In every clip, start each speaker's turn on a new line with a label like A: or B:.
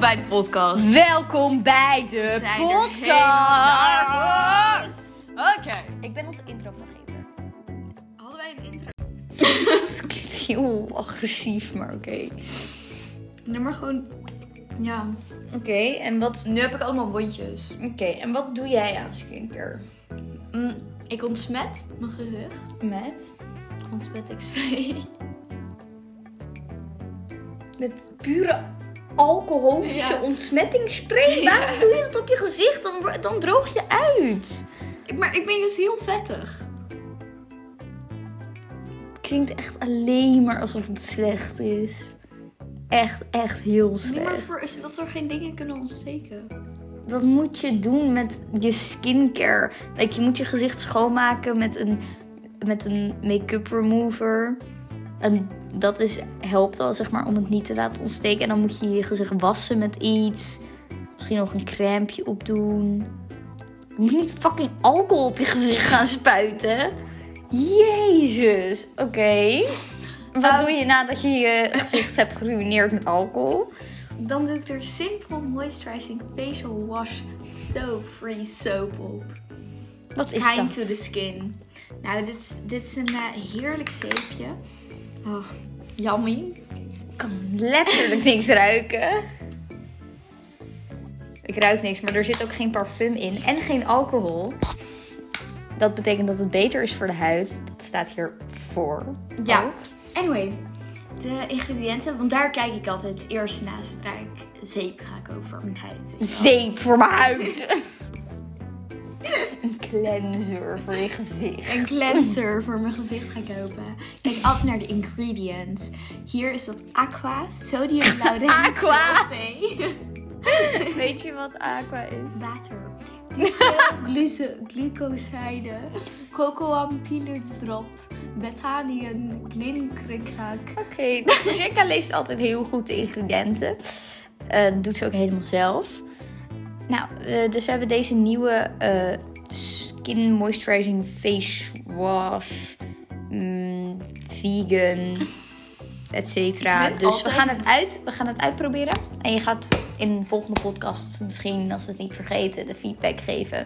A: bij de podcast.
B: Welkom bij de
A: We zijn er helemaal klaar
B: podcast.
A: voor. Oké.
B: Ik ben onze intro vergeten.
A: Hadden wij een intro?
B: Het klinkt heel agressief, maar oké.
A: Nee, maar gewoon... Ja.
B: Oké, en wat?
A: Nu heb ik allemaal wondjes.
B: Oké, en wat doe jij aan skincare?
A: Mm, ik ontsmet mijn gezicht.
B: Met?
A: Ontsmet spray.
B: Met pure alcoholische
A: Ja.
B: ontsmettingsspray. Waarom doe je dat op je gezicht? Dan, wo- dan droog je uit.
A: Ik, maar ik ben dus heel vettig.
B: Klinkt echt alleen maar alsof het slecht is. Echt, echt heel
A: Nee, maar
B: slecht.
A: voor is dat er geen dingen kunnen ontsteken.
B: Dat moet je doen met je skincare. Like, je moet je gezicht schoonmaken met een, met een make-up remover. En dat is, helpt al, zeg maar, om het niet te laten ontsteken. En dan moet je je gezicht wassen met iets. Misschien nog een crème opdoen. Je moet niet fucking alcohol op je gezicht gaan spuiten. Jezus. Oké. Wat
A: Ehm.
B: doe je nadat je je gezicht hebt geruineerd met alcohol?
A: Dan doe ik er Simple Moisturizing Facial Wash Soap Free Soap op.
B: Wat is
A: Kind
B: dat?
A: to the skin. Nou, dit is, dit is een eh, heerlijk zeepje. Oh, yummy.
B: Ik kan letterlijk niks ruiken. Ik ruik niks, maar er zit ook geen parfum in en geen alcohol. Dat betekent dat het beter is voor de huid. Dat staat hier voor. Oh.
A: Ja. Anyway, de ingrediënten, want daar kijk ik altijd eerst naar zodra ik zeep ga kopen voor mijn huid. Dus weet je wel.
B: Zeep voor mijn huid. Een cleanser voor je gezicht.
A: Een cleanser voor mijn gezicht ga kopen. Ik Kijk altijd naar de ingredients. Hier is dat aqua, sodium laurense
B: Aqua.
A: sulfate.
B: Weet je wat aqua is?
A: Water. Diesel, gluce- glucoside, cocoampilerdrop, bethaniën, klinkrekrak.
B: Oké, dus Jessica leest altijd heel goed de ingrediënten. Eh, doet ze ook helemaal zelf. Nou, eh, dus we hebben deze nieuwe eh, Skin Moisturizing Face Wash. mm, vegan, et
A: Ik
B: cetera.
A: ben
B: Dus we
A: altijd
B: gaan, het
A: met-
B: uit, we gaan het uitproberen. En je gaat in een volgende podcast misschien, als we het niet vergeten, de feedback geven.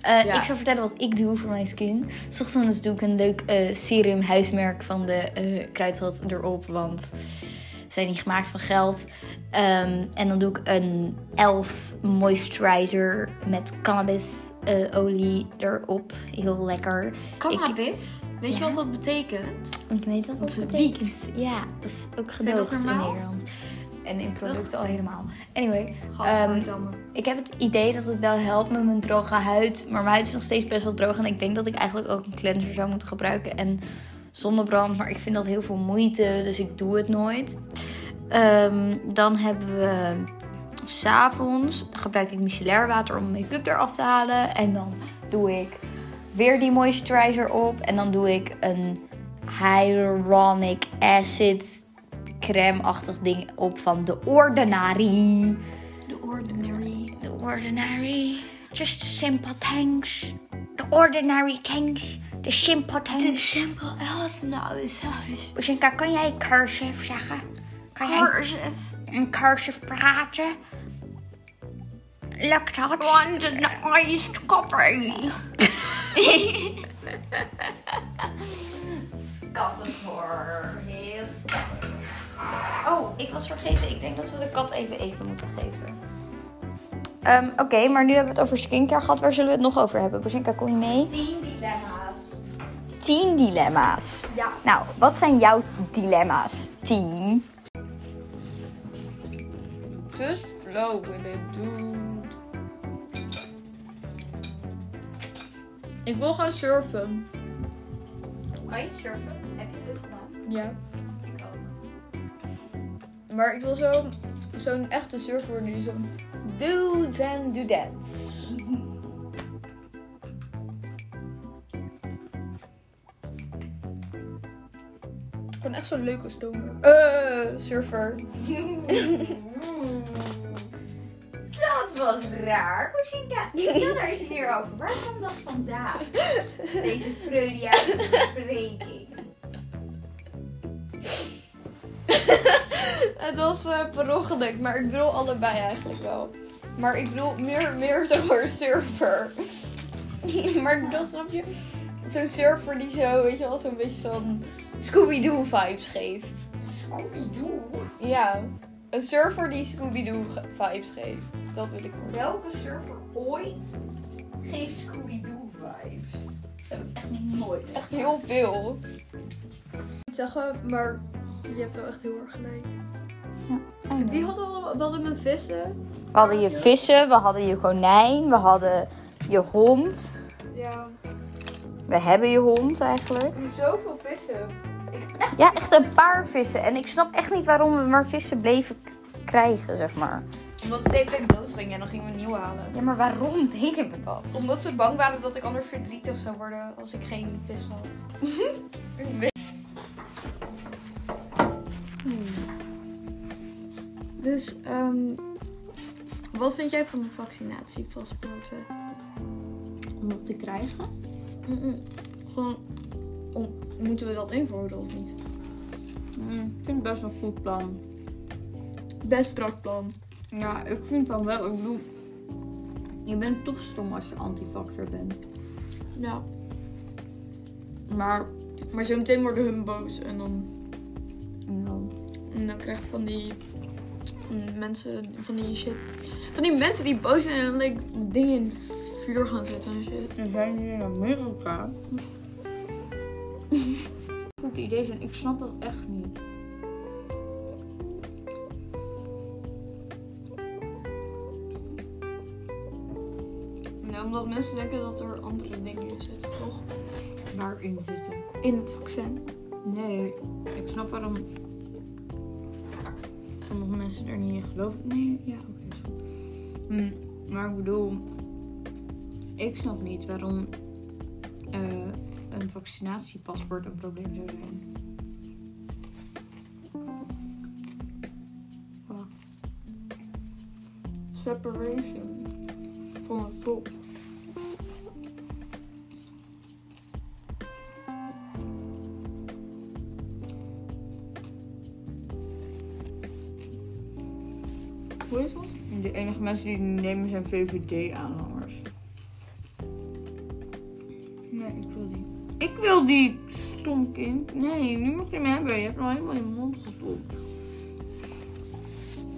B: Eh,
A: Ja.
B: Ik zal vertellen wat ik doe voor mijn skin. 's Ochtends doe ik een leuk eh, serum huismerk van de eh Kruidvat erop. Want ze zijn niet gemaakt van geld. Ehm, en dan doe ik een elf moisturizer met cannabisolie olie erop. Heel lekker. Ik,
A: Cannabis? Weet je
B: Ja.
A: wat dat betekent?
B: ik weet wat dat
A: is
B: betekent. Ja, dat is ook gedoogd in
A: normaal?
B: Nederland. En in producten al helemaal. Anyway, ehm,
A: Gadverdamme.
B: ik heb het idee dat het wel helpt met mijn droge huid. Maar mijn huid is nog steeds best wel droog. En ik denk dat ik eigenlijk ook een cleanser zou moeten gebruiken. En zonnebrand. Maar ik vind dat heel veel moeite. Dus ik doe het nooit. Ehm, dan hebben we... S'avonds gebruik ik micellair water om mijn make-up eraf te halen. En dan doe ik weer die moisturizer op. En dan doe ik een hyaluronic acid crème-achtig ding op van de Ordinary.
A: The Ordinary.
B: The ordinary, just the simple things. The ordinary things, the simple
A: De
B: things.
A: simpel Els nou is huis.
B: Bezinka, kan jij cursive zeggen? Kan jij
A: Cursive.
B: een cursive praten? Lukt dat?
A: Want een iced coffee.
B: Kattenvoor, heel Oh, ik was vergeten. Ik denk dat we de kat even eten moeten geven. Ehm, Oké, maar nu hebben we het over skincare gehad. Waar zullen we het nog over hebben? Bezinka, kom je mee?
A: Tien dilemma's.
B: 10 dilemma's.
A: Ja.
B: Nou, wat zijn jouw dilemma's? 10.
A: Just flow with it, dude. Ik wil gaan surfen.
B: Kan je surfen? Heb je dat gedaan?
A: Ja.
B: Ik ook.
A: Maar ik wil zo- zo'n echte surfer worden die zo... Dudes and dudettes. Gewoon echt zo'n leuke stoner. Eh, surfer.
B: Hmm. Dat was raar. Rosita, vertel daar eens meer over. Waar kwam dat vandaan? Deze Freudiaanse bespreking.
A: Oké, Het was eh per ongeluk, maar ik bedoel allebei eigenlijk wel. Maar ik bedoel meer, meer zo'n surfer. maar dat snap je? Zo'n surfer die zo, weet je wel, zo'n beetje zo'n Scooby-Doo vibes geeft.
C: Scooby-Doo?
A: Ja, een surfer die Scooby-Doo ge- vibes geeft. Dat wil ik horen.
C: Welke surfer ooit geeft Scooby-Doo vibes? Dat heb ik echt nog nooit.
A: Echt heel veel. Ik zeggen, maar je hebt wel echt heel erg gelijk.
C: Oh,
A: Wie hadden we hadden mijn vissen?
B: We hadden je vissen, we hadden je konijn, we hadden je hond.
A: Ja.
B: We hebben je hond eigenlijk.
A: Zoveel vissen.
B: Ja, echt een paar vissen. En ik snap echt niet waarom we maar vissen bleven k- krijgen, zeg maar.
C: Omdat ze de hele tijd dood gingen en dan gingen we nieuw halen.
B: Ja, maar waarom deden we dat?
C: Omdat ze bang waren dat ik anders verdrietig zou worden als ik geen vis had.
D: Hmm. Dus, ehm, wat vind jij van mijn vaccinatiepaspoorten?
B: Om dat te krijgen?
D: Mm-mm. Gewoon, om- moeten we dat invoeren of niet?
E: Hmm, ik vind het best wel een goed plan.
D: Best strak plan.
E: Ja, ik vind van wel. Ik bedoel, je bent toch stom als je antivaxer bent.
D: Ja.
E: Maar
D: Maar zometeen worden hun boos en dan,
E: ja,
D: en dan krijg je van die mm, mensen, van die shit. Van die mensen die boos zijn en dan like, dingen in vuur gaan zetten en shit.
E: we zijn hier in Amerika. Goed idee zijn, ik snap dat echt niet.
D: Nou, omdat mensen denken dat er andere dingen in zitten, toch?
E: Waarin zitten?
D: In het vaccin.
E: Nee, ik snap waarom sommige mensen er niet in geloven. Nee, ja, oké. zo. Hm, maar ik bedoel, ik snap niet waarom eh, een vaccinatiepaspoort een probleem zou zijn.
D: Separation. Van het volk.
E: Hoe is dat? De enige mensen die het nemen zijn VVD-aanhangers. Nee, ik wil die. Ik wil die, stom kind. Nee, nu mag je hem hebben. Je hebt nog helemaal in je mond gestopt.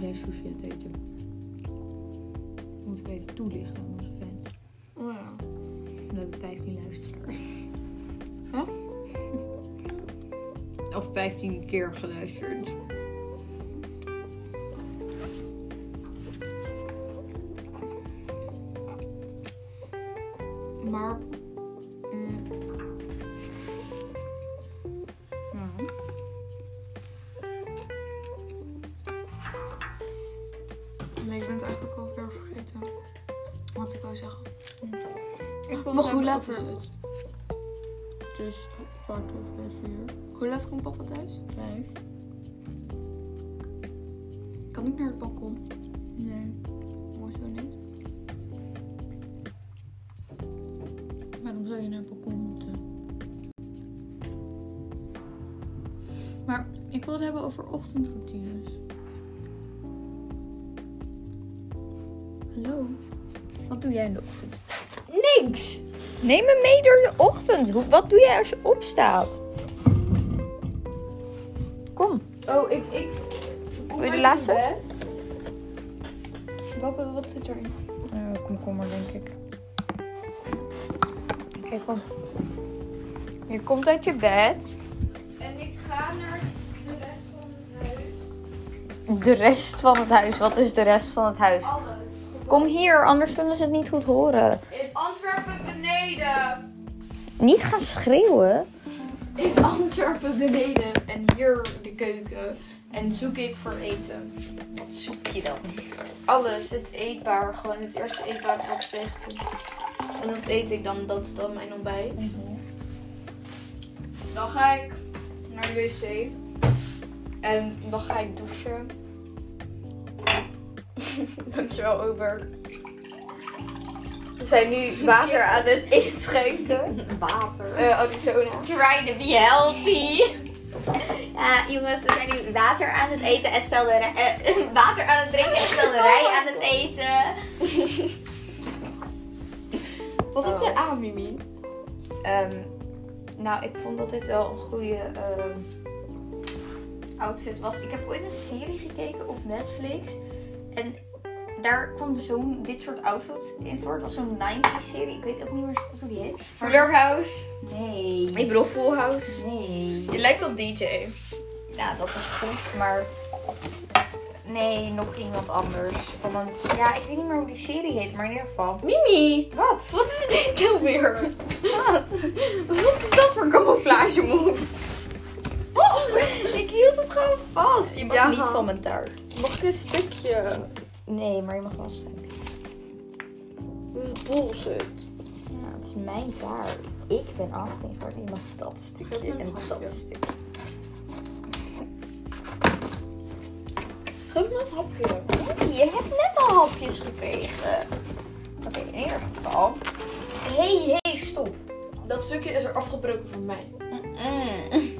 E: Jij sushi aan het eten. Moeten we even toelichten aan onze fans.
D: Oh ja.
E: We hebben 15 luisteraars. Of 15 keer geluisterd.
D: Maar nee, ik ben het eigenlijk alweer vergeten. Wat ik wou zeggen.
E: Ik
D: Maar hoe laat is
E: het?
D: het?
E: Het is kwart over vier.
D: Hoe laat komt papa thuis?
E: Vijf?
D: Kan ik naar het balkon?
E: Nee.
D: Hoezo niet?
E: Waarom zou je naar het balkon moeten? Maar ik wil het hebben over ochtendroutines. Hallo?
B: Wat doe jij in de ochtend? Niks! Neem me mee door de ochtend. Hoe- Wat doe jij als je opstaat? Kom.
C: Oh, ik... ik...
B: Wil je de laatste?
C: Welke, wat zit erin?
B: Eh, komkommer, denk ik. Kijk, kom. Je komt uit je bed.
C: En ik ga naar de rest van het huis.
B: De rest van het huis. Wat is de rest van het huis?
C: Alles.
B: Kom hier, anders kunnen ze het niet goed horen.
C: In Antwerpen beneden.
B: Niet gaan schreeuwen.
D: In Antwerpen beneden en hier de keuken. En zoek ik voor eten.
C: Wat zoek je dan? Alles, het eetbaar. Gewoon het eerste eetbaar dat ik tegenkom.
D: En dat eet ik dan, dat is dan mijn ontbijt.
C: Mhm. Dan ga ik naar de wc. En dan ga ik douchen. Dankjewel, Uber. We zijn nu water aan het inschenken.
B: Water.
C: Eh Arizona.
B: Try to be healthy. Ja, jongens, we zijn nu water aan het eten en stel de rij- eh, water aan het drinken en stel de rij aan het eten.
F: Wat heb je aan, Mimi?
E: Oh. Ehm, nou, ik vond dat dit wel een goede ehm, outfit was. Ik heb ooit een serie gekeken op Netflix. En daar kwam zo'n dit soort outfits in voor. Het was zo'n 90s serie. Ik weet ook niet meer zo goed hoe die heet.
A: Fuller House.
B: Nee.
A: Ik bedoel Full House.
B: Nee.
A: Je lijkt op DJ.
E: Nou, dat was goed, maar... Nee, nog iemand anders. Van een... Ja, ik weet niet meer hoe die serie heet, maar in ieder geval...
A: Mimi,
E: Wat?
A: wat is dit nou weer? Wat? Wat is dat voor camouflage move?
E: Oh, ik hield het gewoon vast.
A: Je mag Ja. niet van
E: mijn taart.
A: Mag ik een stukje?
E: Nee, maar je mag wel schrijven.
A: Dit is bullshit.
E: Ja, het is mijn taart. Ik ben 18 geworden. Je mag dat stukje en dat stukje.
A: Geef me een hapje.
E: Nee, je hebt net al hapjes gekregen. Oké, in ieder geval. Hé, hey, hey, stop.
F: Dat stukje is er afgebroken voor mij.
E: Mm.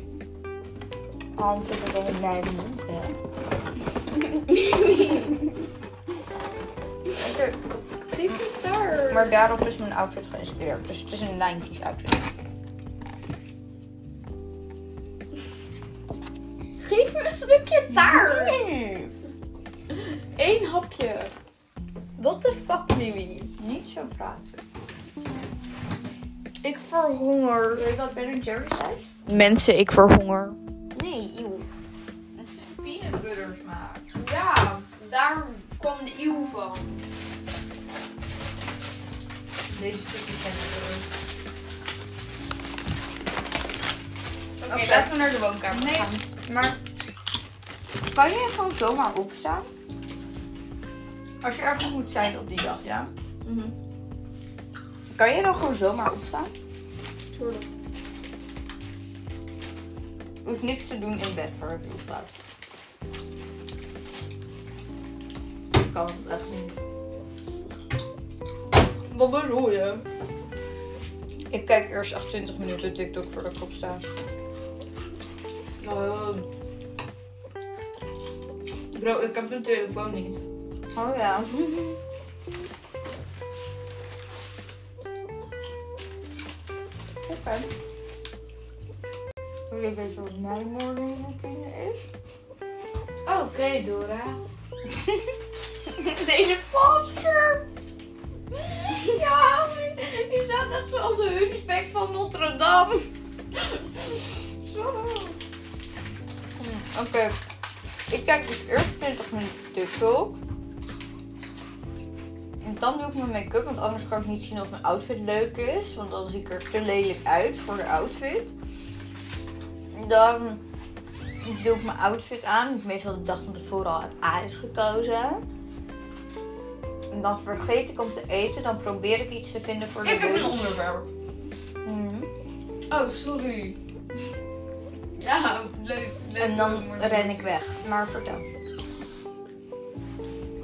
E: Oh, ik heb het al bij de mond, hè.
F: Geef die daar.
E: Maar daarop is mijn outfit geïnspireerd. Dus het is een 90s outfit.
A: Geef me een stukje taart.
E: Hmm.
F: Eén hapje.
A: What the fuck, Mimi?
E: Niet zo praten.
F: Ik verhonger.
E: Wil je wat Ben Jerry's thuis?
A: Mensen, ik verhonger.
E: Nee, joh.
G: Peanut butter smaak.
F: Ja, daar kwam de eeuw van.
G: Deze stukjes zijn er.
F: Oké, laten we naar de woonkamer
E: Nee.
F: gaan.
E: Maar kan je gewoon zomaar opstaan? Als je ergens moet zijn op die dag, ja?
F: Mhm.
E: Kan je dan gewoon zomaar opstaan?
F: Tuurlijk.
E: Hoeft niks te doen in bed voor ik opstaat. Ik kan het echt niet.
F: Wat bedoel je?
E: Ik kijk eerst 28 minuten TikTok voordat ik opsta.
F: Ehm. bro, ik heb mijn telefoon niet.
E: Oh ja. Oké. Wil je weten wat mijn morning routine is?
F: Oké,
E: Oh,
F: Dora.
E: Deze posture! Ja, die staat net zoals de hunchback van Notre Dame. Sorry. Hm, Oké, ik kijk dus eerst 20 minuten TikTok. En dan doe ik mijn make-up, want anders kan ik niet zien of mijn outfit leuk is. Want dan zie ik er te lelijk uit voor de outfit. Dan doe ik mijn outfit aan, die ik meestal de dag van tevoren al heb A is gekozen. En dan vergeet ik om te eten, dan probeer ik iets te vinden voor de
F: Ik heb een
E: lunch.
F: onderwerp.
E: Mhm.
F: Oh, sorry. Ja, leuk. leuk
E: En dan
F: Maar-
E: ren ik weg. Maar vertel.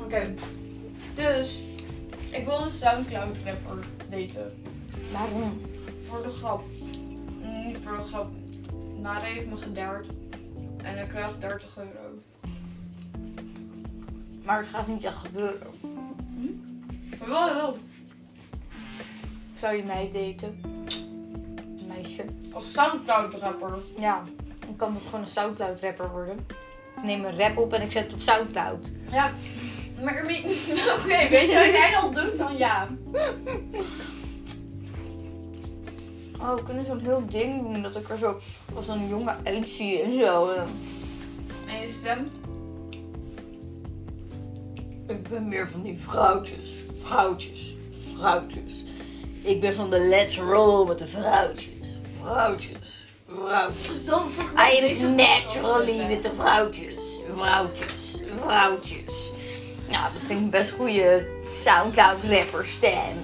F: Oké. Dus, ik wil een Soundcloud rapper weten.
E: Waarom?
F: Voor de grap. Niet voor de grap. Mare heeft me gedaard. En ik krijg 30 euro.
E: Maar het gaat niet echt gebeuren.
F: Hm? Maar wel, wel.
E: Zou je mij daten? Meisje.
F: Als Soundcloud rapper.
E: Ja, ik kan toch gewoon een Soundcloud rapper worden. Ik neem een rap op en ik zet het op Soundcloud.
F: Ja. Maar Ermie- oké, weet je wat jij dan doet? Dan ja.
E: Oh, we kunnen zo'n heel ding doen dat ik er zo als een jongen uitzie en zo.
F: En je stem?
E: Ik ben meer van die vrouwtjes. Vrouwtjes. Vrouwtjes. Ik ben van de let's roll met de vrouwtjes. Vrouwtjes. Vrouwtjes.
F: Zo fucking
E: I am naturally with de vrouwtjes. Vrouwtjes. Vrouwtjes. Nou, dat vind ik best goede Soundcloud rapper stem.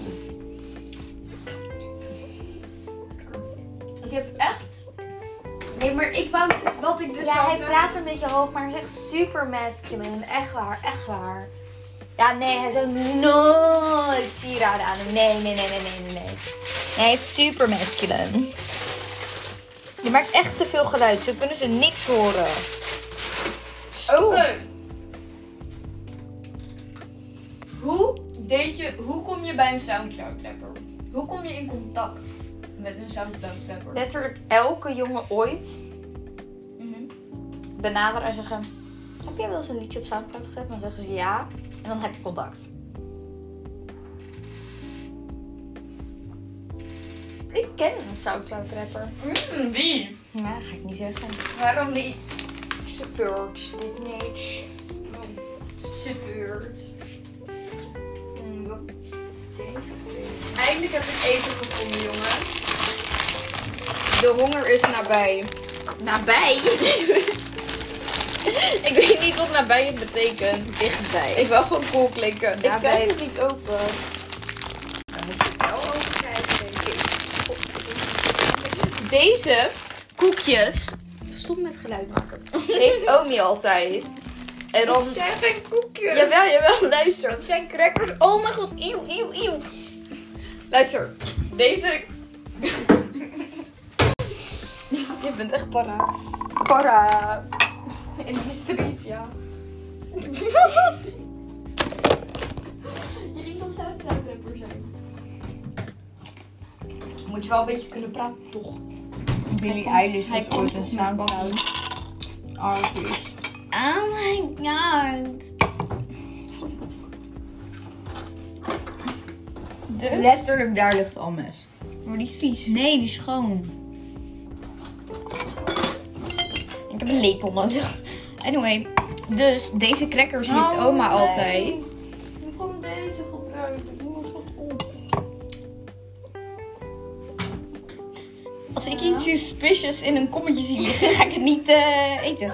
F: Ik heb echt... Nee, maar ik wou... Wat ik dus
B: Ja,
F: wou
B: hij
F: vragen-
B: praat een beetje hoog, maar hij is echt super masculine. Echt waar, echt waar. Ja, nee, hij zou nooit sieraden aan doen. Nee, nee, nee, nee, nee, nee, nee.
E: Hij is super masculine.
H: Je maakt echt te veel geluid. Zo kunnen ze niks horen.
I: Oké. Hoe deed je, hoe kom je bij een Soundcloud rapper? Hoe kom je in contact met een Soundcloud rapper?
B: Letterlijk elke jongen ooit
I: Mhm.
B: benaderen en zeggen... Heb jij wel eens een liedje op Soundcloud gezet? Dan zeggen ze ja. En dan heb je contact. Ik ken een Soundcloud rapper.
I: Mm, wie?
B: Maar ga ik niet zeggen.
I: Waarom niet?
B: Ik support dit niet.
I: Support. Eindelijk heb ik eten gevonden, jongen.
H: De honger is nabij. Nabij? ik weet niet wat nabij het betekent. Dichtbij. Ik wil gewoon cool klikken. Nabij. Ik het niet open. Deze koekjes
B: Stop met geluid maken.
H: heeft Omi altijd. En dan...
I: zijn geen koekjes.
H: Jawel, jawel, luister. Het zijn crackers. Oh mijn god, eeuw, eeuw, eeuw. Luister, deze... Je bent echt para. Para.
I: In die street, ja. Jullie kan Soundcloud rapper zijn. Moet je wel een beetje kunnen praten, toch?
E: Billy Eilish heeft ooit een Soundcloud artist.
B: Oh my god.
E: Letterlijk, daar ligt al mes.
B: Maar die is vies. Nee, die is schoon. Ik heb een lepel nodig. Anyway, dus deze crackers heeft
E: Oh,
B: oma altijd.
I: Ik kom deze gebruiken. Ik moet wat op.
B: Als ik iets suspicious in een kommetje zie liggen, ga ik het niet eh, eten.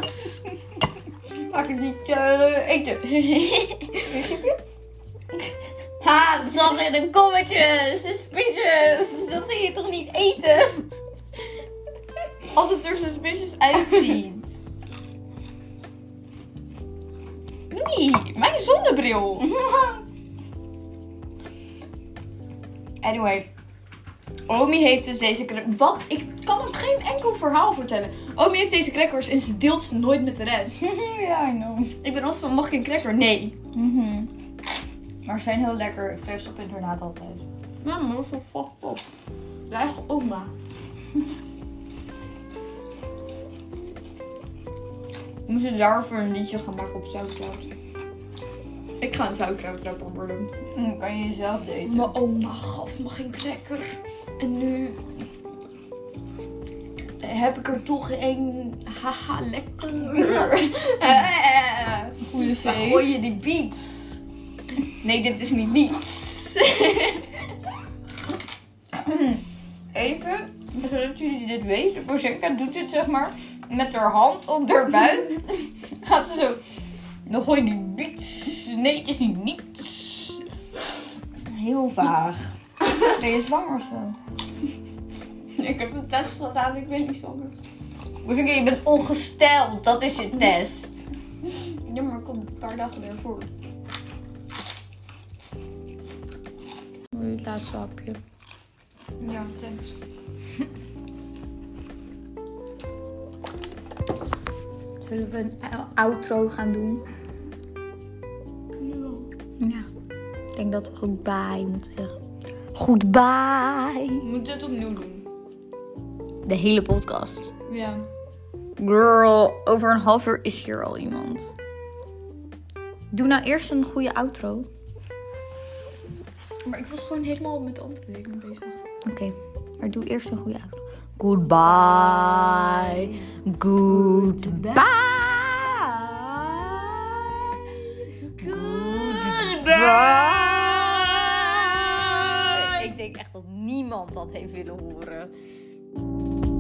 B: Ga ik het niet eh, eten. ha, het zat in een kommetje. Suspicious. Dat ging je toch niet eten?
H: Als het er suspicious uitziet. Nee, mijn zonnebril. Anyway. Omi heeft dus deze crackers. Wat? Ik kan ook geen enkel verhaal vertellen. Omi heeft deze crackers en ze deelt ze nooit met de rest.
E: Ja, I know.
H: Ik ben altijd van, mag ik een cracker? Nee.
E: Maar ze zijn heel lekker. Ik tref ze op internaat altijd.
A: Mama, wat fucked up. De eigen oma.
E: Moeten we daarvoor een liedje gaan maken op Soundcloud?
A: Ik ga een Soundcloud rapper worden.
E: Dan kan je jezelf daten.
A: Mijn
H: oh
A: oma gaf me geen cracker. En nu heb ik er toch een. Haha, lekker.
E: Goeie
A: Waar gooi je die beats?
H: Nee, dit is niet niets.
E: Even, zodat jullie dit weten. Bozenka doet dit zeg maar met haar hand op haar buik. Gaat ze zo. Dan gooi je die biets. Nee, het is niet niets. Heel vaag. Ben je zwanger of zo?
H: Ik heb een test gedaan, ik ben niet zonder.
E: Bozenka, je bent ongesteld. Dat is je test.
H: Ja, maar ik kom een paar dagen weer voor.
B: Het laatste hapje.
H: Ja, thanks.
B: Zullen we een outro gaan doen? Ja. Ik denk dat we goodbye moeten zeggen. Goodbye.
A: Moet dit opnieuw doen?
B: De hele podcast.
A: Ja.
B: Girl, over een half uur is hier al iemand. Doe nou eerst een goede outro. Oké,
A: Maar ik was gewoon helemaal met andere dingen bezig.
B: maar doe eerst een goede outro. Goodbye. Goodbye. Goodbye. Ik denk echt dat niemand dat heeft willen horen.